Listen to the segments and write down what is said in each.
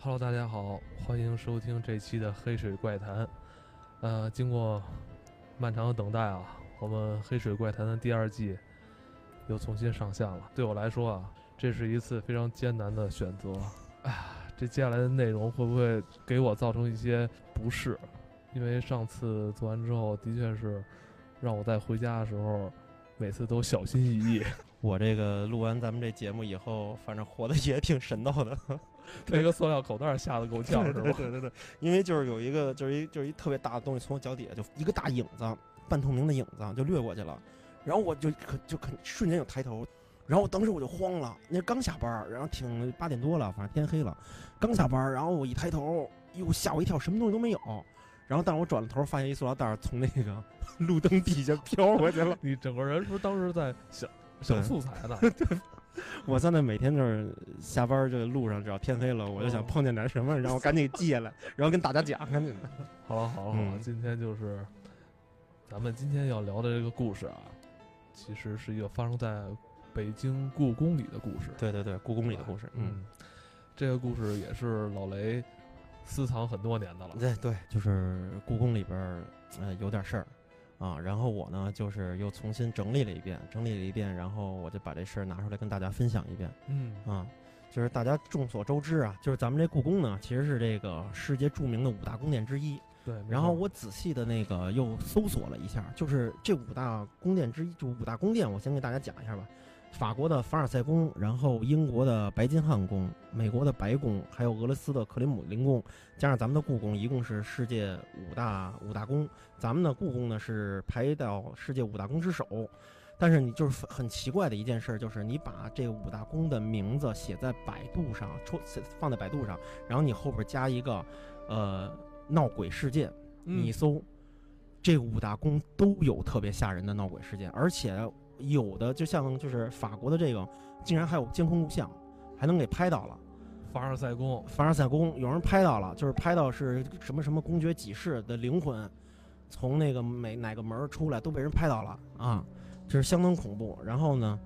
Hello，大家好，欢迎收听这期的《黑水怪谈》。呃，经过漫长的等待啊，我们《黑水怪谈》的第二季又重新上线了。对我来说啊，这是一次非常艰难的选择。啊，这接下来的内容会不会给我造成一些不适？因为上次做完之后，的确是让我在回家的时候，每次都小心翼翼。我这个录完咱们这节目以后，反正活的也挺神道的， 那个塑料口袋吓得够呛，是吧？对对对，因为就是有一个，就是一就是一特别大的东西从我脚底下就一个大影子，半透明的影子就掠过去了，然后我就可就可瞬间就抬头，然后我当时我就慌了，那刚下班儿，然后挺八点多了，反正天黑了，刚下班儿，然后我一抬头，哟吓我一跳，什么东西都没有。然后，但是我转了头，发现一塑料袋儿从那个 路灯底下飘 过去了。你整个人是不是当时在想想对素材 呢？我现在每天就是下班儿这个路上，只要天黑了，我就哦想碰见点什么，然后赶紧记下来，然后跟大家讲，赶紧的。好了好了好了，嗯今天就是咱们今天要聊的这个故事啊，其实是一个发生在北京故宫里的故事。 对嗯对对，故宫里的故事，嗯，嗯，这个故事也是老雷私藏很多年的了。嗯对对，就是故宫里边儿呃有点事儿啊，然后我呢就是又重新整理了一遍，整理了一遍，然后我就把这事儿拿出来跟大家分享一遍嗯啊。就是大家众所周知啊，就是咱们这故宫呢，其实是这个世界著名的五大宫殿之一。对。没错然后我仔细的那个又搜索了一下，就是这五大宫殿之一，就五大宫殿，我先给大家讲一下吧。法国的凡尔赛宫，然后英国的白金汉宫，美国的白宫，还有俄罗斯的克里姆林宫，加上咱们的故宫，一共是世界五大五大宫。咱们的故宫呢是排到世界五大宫之首。但是你就是很奇怪的一件事儿，就是你把这五大宫的名字写在百度上，戳写放在百度上，然后你后边加一个，呃，闹鬼事件，嗯你搜，这五大宫都有特别吓人的闹鬼事件，而且有的就像就是法国的这个，竟然还有监控录像，还能给拍到了。凡尔赛宫，凡尔赛宫有人拍到了，就是拍到是什么什么公爵几世的灵魂从那个每哪个门儿出来，都被人拍到了啊，这是相当恐怖。然后呢，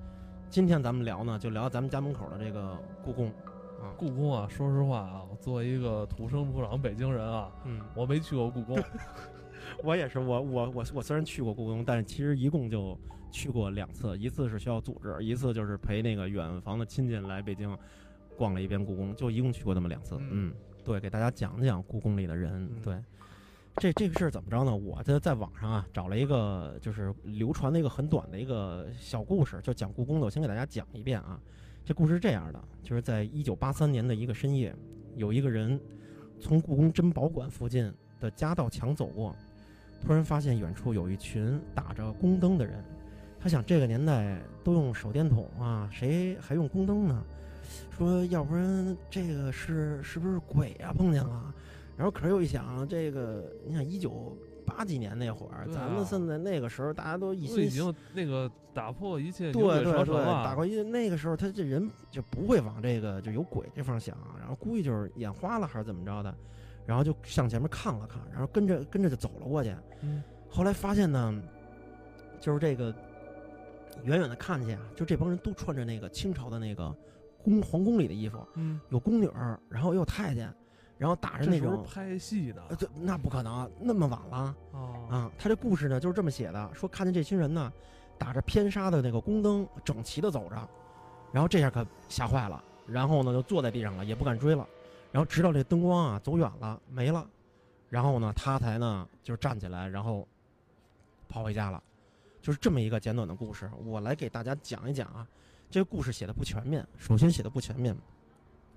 今天咱们聊呢，就聊咱们家门口的这个故宫。故宫啊，说实话啊，我作为一个土生土长北京人啊，嗯，我没去过故 宫。我也是，我我我我虽然去过故宫，但是其实一共就去过两次，一次是学校组织，一次就是陪那个远房的亲戚来北京逛了一遍故宫，就一共去过那么两次。嗯嗯，对，给大家讲讲故宫里的人。嗯对，这这个事儿怎么着呢？我在在网上啊找了一个就是流传的一个很短的一个小故事，就讲故宫的，我先给大家讲一遍啊。这故事是这样的，就是在一九八三年的一个深夜，有一个人从故宫珍宝馆附近的夹道墙走过，突然发现远处有一群打着宫灯的人。他想，这个年代都用手电筒啊，谁还用宫灯呢？说要不然这个是是不是鬼啊碰见了？然后可是又一想，这个你想一九八几年那会儿，对啊咱们现在那个时候大家都一都已心经那个打破一切牛对鬼对蛇对神，了，啊打过一那个时候，他这人就不会往这个就有鬼这方想，啊然后估计就是眼花了还是怎么着的，然后就向前面看了看，然后跟着跟着就走了过去。嗯后来发现呢，就是这个远远的看去啊，就这帮人都穿着那个清朝的那个宫皇宫里的衣服，嗯，有宫女儿，然后也有太监，然后打着这那时候种。拍戏呢呃，这那不可能，那么晚了，啊，啊，他这故事呢就是这么写的，说看见这群人呢，打着偏纱的那个宫灯，整齐的走着，然后这下可吓坏了，然后呢就坐在地上了，也不敢追了，然后直到这灯光啊走远了没了，然后呢他才呢就站起来，然后跑回家了，就是这么一个简短的故事，我来给大家讲一讲啊，这个故事写的不全面，首先写的不全面，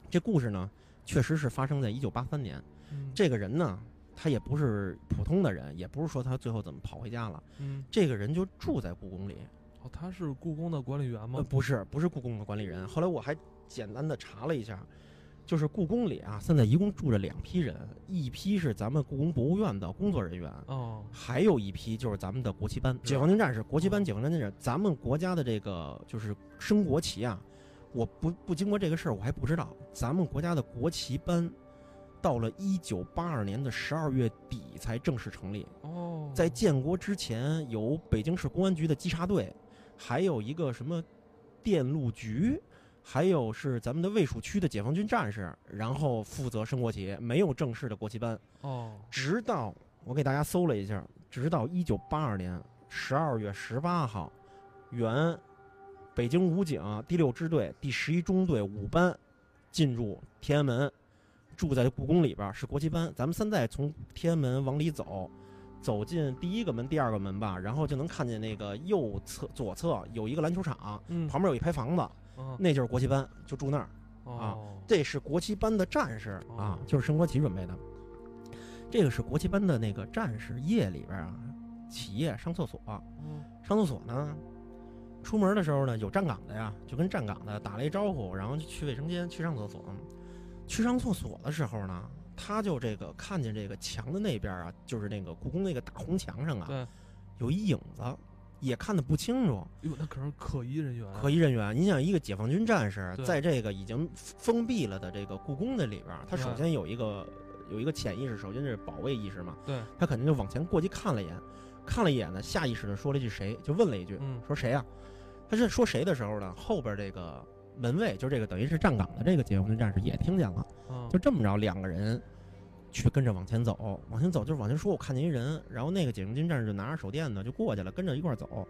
这故事呢确实是发生在一九八三年。嗯这个人呢，他也不是普通的人，也不是说他最后怎么跑回家了。嗯，这个人就住在故宫里，哦，他是故宫的管理员呃，吗？不是，不是故宫的管理人。后来我还简单的查了一下，就是故宫里啊，现在一共住着两批人，一批是咱们故宫博物院的工作人员，哦，还有一批就是咱们的国旗班、嗯是解放军战士、国旗班、解放军战士。咱们国家的这个就是升国旗啊，我不不经过这个事儿，我还不知道。咱们国家的国旗班，到了一九八二年的十二月底才正式成立。哦，在建国之前，由北京市公安局的稽查队，还有一个什么电路局，还有是咱们的卫戍区的解放军战士，然后负责升国旗，没有正式的国旗班。哦，直到我给大家搜了一下，直到一九八二年十二月十八号，原北京武警第六支队第十一中队五班进入天安门，住在故宫里边儿是国旗班。咱们现在从天安门往里走，走进第一个门、第二个门吧，然后就能看见那个右侧左侧有一个篮球场，嗯，旁边有一排房子，啊那就是国旗班，就住那儿。哦，这是国旗班的战士啊哦，就是升国旗准备的。这个是国旗班的那个战士夜里边啊，起夜上厕所，嗯上厕所呢，出门的时候呢，有站岗的呀，就跟站岗的打了一招呼，然后就去卫生间去上厕所。去上厕所的时候呢，他就这个看见这个墙的那边啊，就是那个故宫那个大红墙上啊，对，有一影子，也看得不清楚。哟，那可是可疑人员啊，可疑人员，你想一个解放军战士对在这个已经封闭了的这个故宫的里边儿，他首对先有一个有一个潜意识，首先是保卫意识嘛，对，他肯定就往前过去看了一眼，看了一眼呢，下意识的说了一句谁，就问了一句，嗯说谁啊？他是说谁的时候呢，后边这个门卫，就是这个等于是站岗的这个解放军战士也听见了，嗯就这么着两个人。去跟着往前走，往前走就是往前说，我看见一人，然后那个解放军战士就拿着手电呢，就过去了，跟着一块儿走，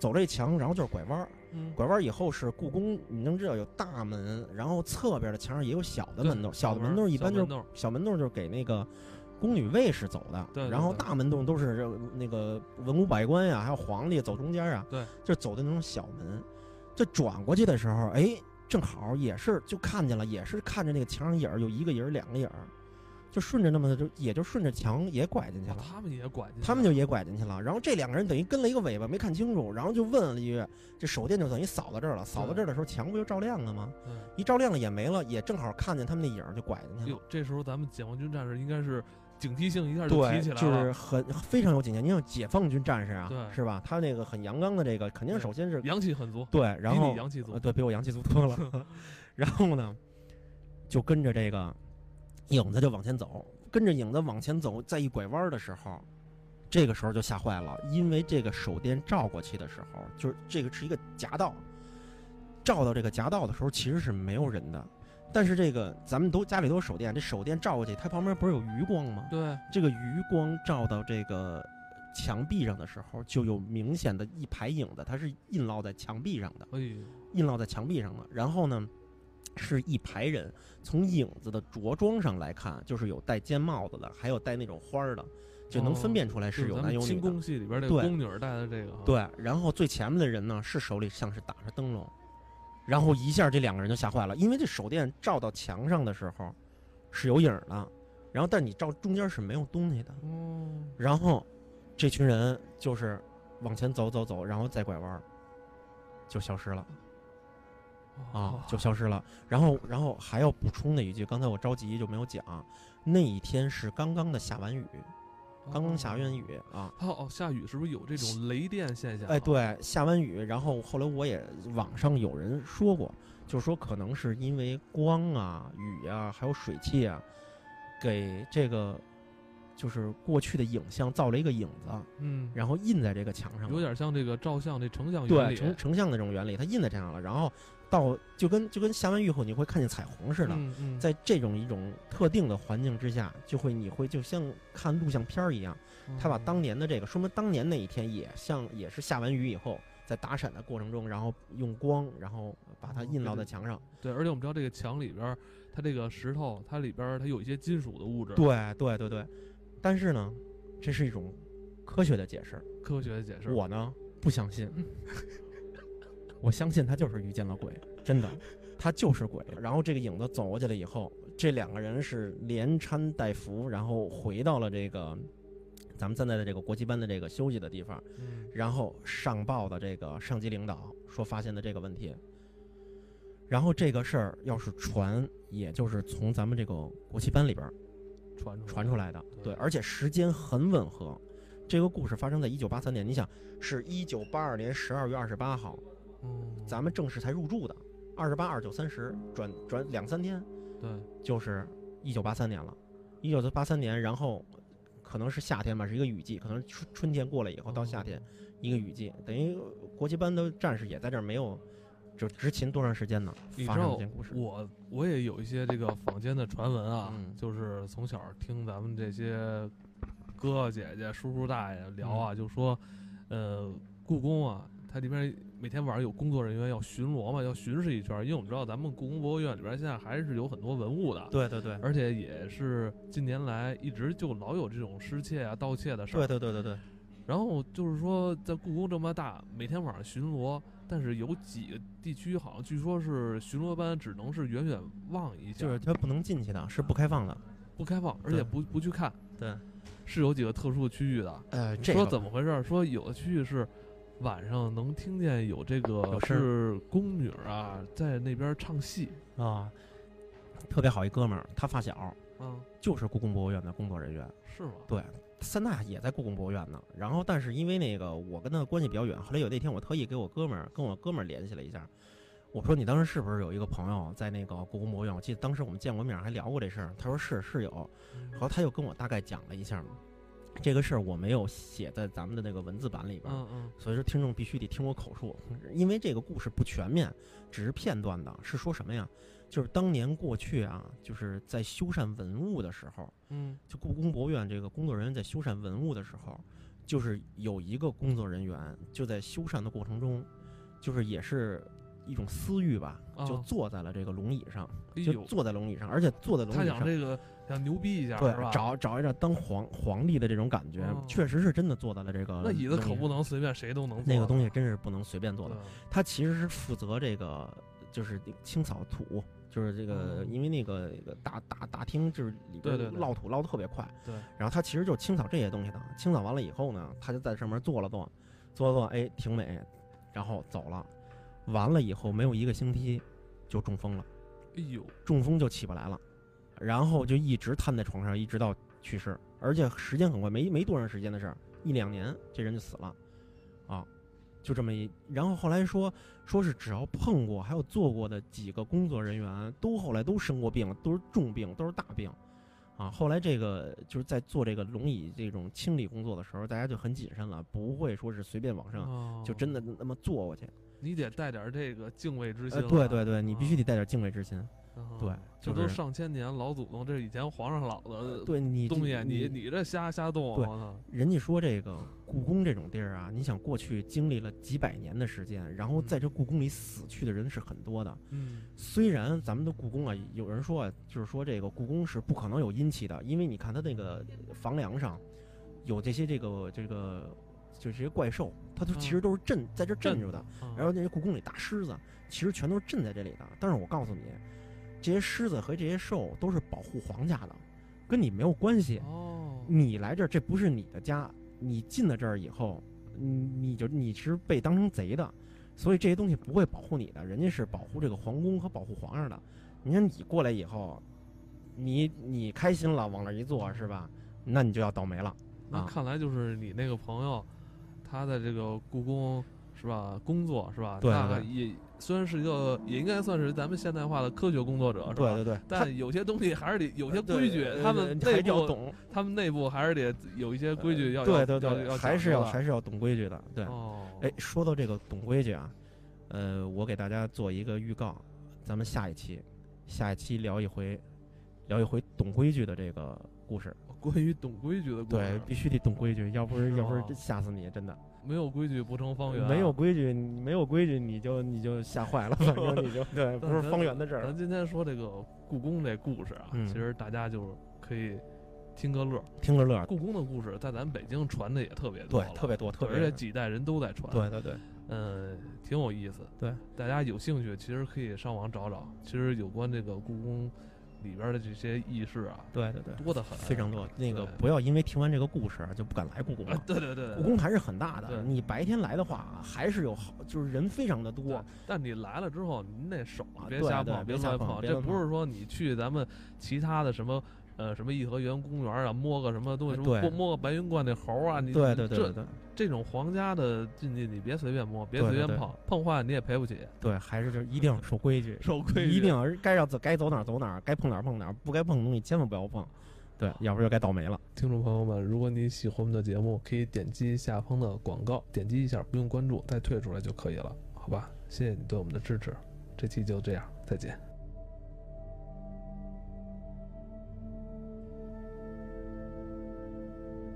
走这墙，然后就是拐弯儿，嗯拐弯以后是故宫，你能知道有大门，然后侧边的墙上也有小的门洞，小的门洞一般就是是小门洞就是给那个宫女卫士走的，对对然后对大门洞都是呃那个文武百官呀，还有皇帝走中间啊，对，就走的那种小门。这转过去的时候，哎，正好也是就看见了，也是看着那个墙上影儿有一个影儿两个影儿，就顺着那么就也就顺着墙也拐进去了。哦他们也管进去了，他们就也拐进去了。然后这两个人等于跟了一个尾巴，没看清楚，然后就问了一句：“这手电就等于扫到这儿了，扫到这儿的时候，墙不就照亮了吗？嗯一照亮了也没了，也正好看见他们那影儿就拐进去了哟。，这时候咱们解放军战士应该是警惕性一下就对提起，来就了，是很非常有警觉。你像解放军战士啊对，是吧？他那个很阳刚的这个，肯定对首先是阳气很足，对，然比后你阳气足呃，对比我阳气足多了。然后呢，就跟着这个影子就往前走，跟着影子往前走，在一拐弯的时候，这个时候就吓坏了，因为这个手电照过去的时候，就是这个是一个夹道，照到这个夹道的时候其实是没有人的。但是这个咱们都家里都有手电，这手电照过去，它旁边不是有余光吗？对，这个余光照到这个墙壁上的时候，就有明显的一排影子，它是印烙在墙壁上的。哎呦，印烙在墙壁上了。然后呢，是一排人，从影子的着装上来看，就是有戴尖帽子的，还有戴那种花儿的，就能分辨出来哦就是有咱男们有女清的。宫戏里边这个对宫女儿戴的这个啊，对，然后最前面的人呢，是手里像是打着灯笼，然后一下这两个人就吓坏了，因为这手电照到墙上的时候是有影儿的，然后但你照中间是没有东西的。哦，然后这群人就是往前走走走，然后再拐弯儿，就消失了。啊哦，就消失了。然后，然后还要补充的一句，刚才我着急就没有讲，那一天是刚刚的下完雨，刚刚下完雨啊。哦哦，下雨是不是有这种雷电现象啊？哎，对，下完雨，然后后来我也网上有人说过，就是说可能是因为光啊、雨啊，还有水汽啊，给这个就是过去的影像造了一个影子，嗯，然后印在这个墙上了，有点像这个照相这成像原对理，成成像的这种原理，它印在墙上了，然后到就跟就跟下完雨后你会看见彩虹似的，嗯嗯，在这种一种特定的环境之下，就会你会就像看录像片儿一样，他把嗯当年的这个说明当年那一天也像也是下完雨以后，在打闪的过程中，然后用光，然后把它哦印对烙在对墙上。对，而且我们知道这个墙里边儿，它这个石头，它里边儿它有一些金属的物质，对对对对，但是呢，这是一种科学的解释，科学的解释。我呢不相 信，我相信他就是遇见了鬼，真的，他就是鬼。然后这个影子走过去了以后，这两个人是连搀带扶，然后回到了这个咱们现在的这个国际班的这个休息的地方，嗯然后上报的这个上级领导说发现的这个问题。然后这个事儿要是传，也就是从咱们这个国际班里边儿传出传出来的，对对，而且时间很吻合。这个故事发生在一九八三年，你想是一九八二年十二月二十八号，嗯，咱们正式才入住的，二十八、二九、三十，转转两三天对，就是一九八三年了。一九八三年，然后可能是夏天吧，是一个雨季，可能春哦春天过了以后到夏天，一个雨季，等于国旗班的战士也在这儿没有就执勤多长时间呢？你发知生道这件故事，我我也有一些这个坊间的传闻啊，嗯就是从小听咱们这些哥哥姐姐、叔叔大爷聊嗯啊，就说，呃，故宫啊，它里边每天晚上有工作人员要巡逻嘛，要巡视一圈儿，因为我们知道咱们故宫博物院里边现在还是有很多文物的，对对对，而且也是近年来一直就老有这种失窃啊、盗窃的事儿对。对对对对，然后就是说，在故宫这么大，每天晚上巡逻，但是有几个地区好像据说是巡逻班只能是远远望一下，就是他不能进去的，是不开放的。不开放，而对且不不去看，对，是有几个特殊的区域的。呃，这说个怎么回事儿？说有的区域是晚上能听见有这个有声儿是宫女儿啊在那边唱戏啊？特别好一哥们儿，他发小啊，就是故宫博物院的工作人员，是吗？对，三大也在故宫博物院呢。然后，但是因为那个我跟他的关系比较远，后来有那天我特意给我哥们儿跟我哥们儿联系了一下，我说你当时是不是有一个朋友在那个故宫博物院？我记得当时我们见过面还聊过这事儿，他说是是有，然后他又跟我大概讲了一下。这个事儿我没有写在咱们的那个文字版里边，嗯嗯所以说听众必须得听我口述，因为这个故事不全面，只是片段的。是说什么呀？就是当年过去啊，就是在修缮文物的时候，嗯就故宫博物院这个工作人员在修缮文物的时候，就是有一个工作人员就在修缮的过程中，就是也是一种私欲吧，啊就坐在了这个龙椅上，哎就呦，坐在龙椅上，而且坐在龙他椅想上。这个想牛逼一下是吧对，？找找一找当皇皇帝的这种感觉，哦确实是真的坐在了这个那椅子可龙椅不上能随便谁都能那坐啊个嗯东的西真是不能随便做的。对他其实是负责这个，就是清扫土，就是这个，哦因为那个那个大大大厅就是里边对对对捞土捞的特别快，对然后他其实就清扫这些东西的。清扫完了以后呢，他就在上面坐了坐，坐了坐，哎，挺美，然后走了。完了以后没有一个星期就中风了，哎呦，中风就起不来了，然后就一直瘫在床上，一直到去世，而且时间很快，没没多长时间的事儿，一两年这人就死了，啊，就这么一。然后后来说说是只要碰过还有做过的几个工作人员，都后来都生过病，都是重病，都是大病，啊，后来这个就是在做这个龙椅这种清理工作的时候，大家就很谨慎了，不会说是随便往上。哦就真的那么做过去，你得带点儿这个敬畏之心呃，啊、对对对，你必须得得带点敬畏之心，对，这就都是呃上千年老祖宗，这是以前皇上老的对你呃东西，啊你你你这瞎瞎动，啊对我操人家说这个故宫这种地儿啊，你想过去经历了几百年的时间，然后在这故宫里死去的人是很多的。嗯，虽然咱们的故宫啊，有人说啊，就是说这个故宫是不可能有阴气的，因为你看它那个房梁上有这些这个这个就是这些怪兽，它都嗯其实都是镇在这镇住的。啊然后那些故宫里大狮子，其实全都是镇在这里的。但是我告诉你，这些狮子和这些兽都是保护皇家的，跟你没有关系。哦，你来这儿，这不是你的家，你进了这儿以后，你你就你是被当成贼的，所以这些东西不会保护你的，人家是保护这个皇宫和保护皇上的。你看你过来以后，你你开心了，往那儿一坐是吧？那你就要倒霉了。那啊看来就是你那个朋友，他在这个故宫是吧工作是吧？对对他对也虽然是一个也应该算是咱们现代化的科学工作者是吧？对对对，但有些东西还是得有些对规矩，对他们对还内是要部懂，呃他们内部还是得有一些规矩要对要对要对，要还是讲究要的还是要懂规矩的。对，哦，哎，说到这个懂规矩啊，呃，我给大家做一个预告，咱们下一期，下一期聊一回，聊一回懂规矩的这个故事。关于懂规矩的故对事，，必须得懂规矩，要不是哦是要不是吗真吓死你，真的。没有规矩不成方圆，没有规矩，你没有规矩你就你就吓坏了，反正 你就对，不是方圆的事咱儿。今天说这个故宫这故事啊，嗯其实大家就是可以听个乐儿。听着乐儿，故宫的故事在咱北京传的也特别多嗯对了，，特别多，特对别而且几代人都在传。，对对对，嗯，挺有意思。对，大家有兴趣其实可以上网找找，其实有关这个故宫里边的这些轶事啊，对对对，多得很，非常多。那个对不要因为听完这个故事啊就不敢来故宫啊了。，对对对，故宫还是很大对的，你白天来的话还是有好，就是人非常的对多。但你来了之后，您那手啊别对瞎对碰，别瞎乱碰碰。别这乱不碰是说你去咱们其他的什么呃什么颐和园公园啊，摸个什么东西，哎什么摸对摸个白云观那猴啊，你对对对这对对这种皇家的禁忌你别随便摸，别对随对便对碰，碰坏了你也赔不起，对，还是就是一定要守 规矩，守规矩。一定要该要走该走哪儿走哪儿，该碰哪儿碰哪儿，不该碰的东西千万不要碰。对，要不然就该倒霉了。听众朋友们，如果你喜欢我们的节目，可以点击下方的广告，点击一下不用关注，再退出来就可以了。好好吧，谢谢你对我们的支持，这期就这样，再见。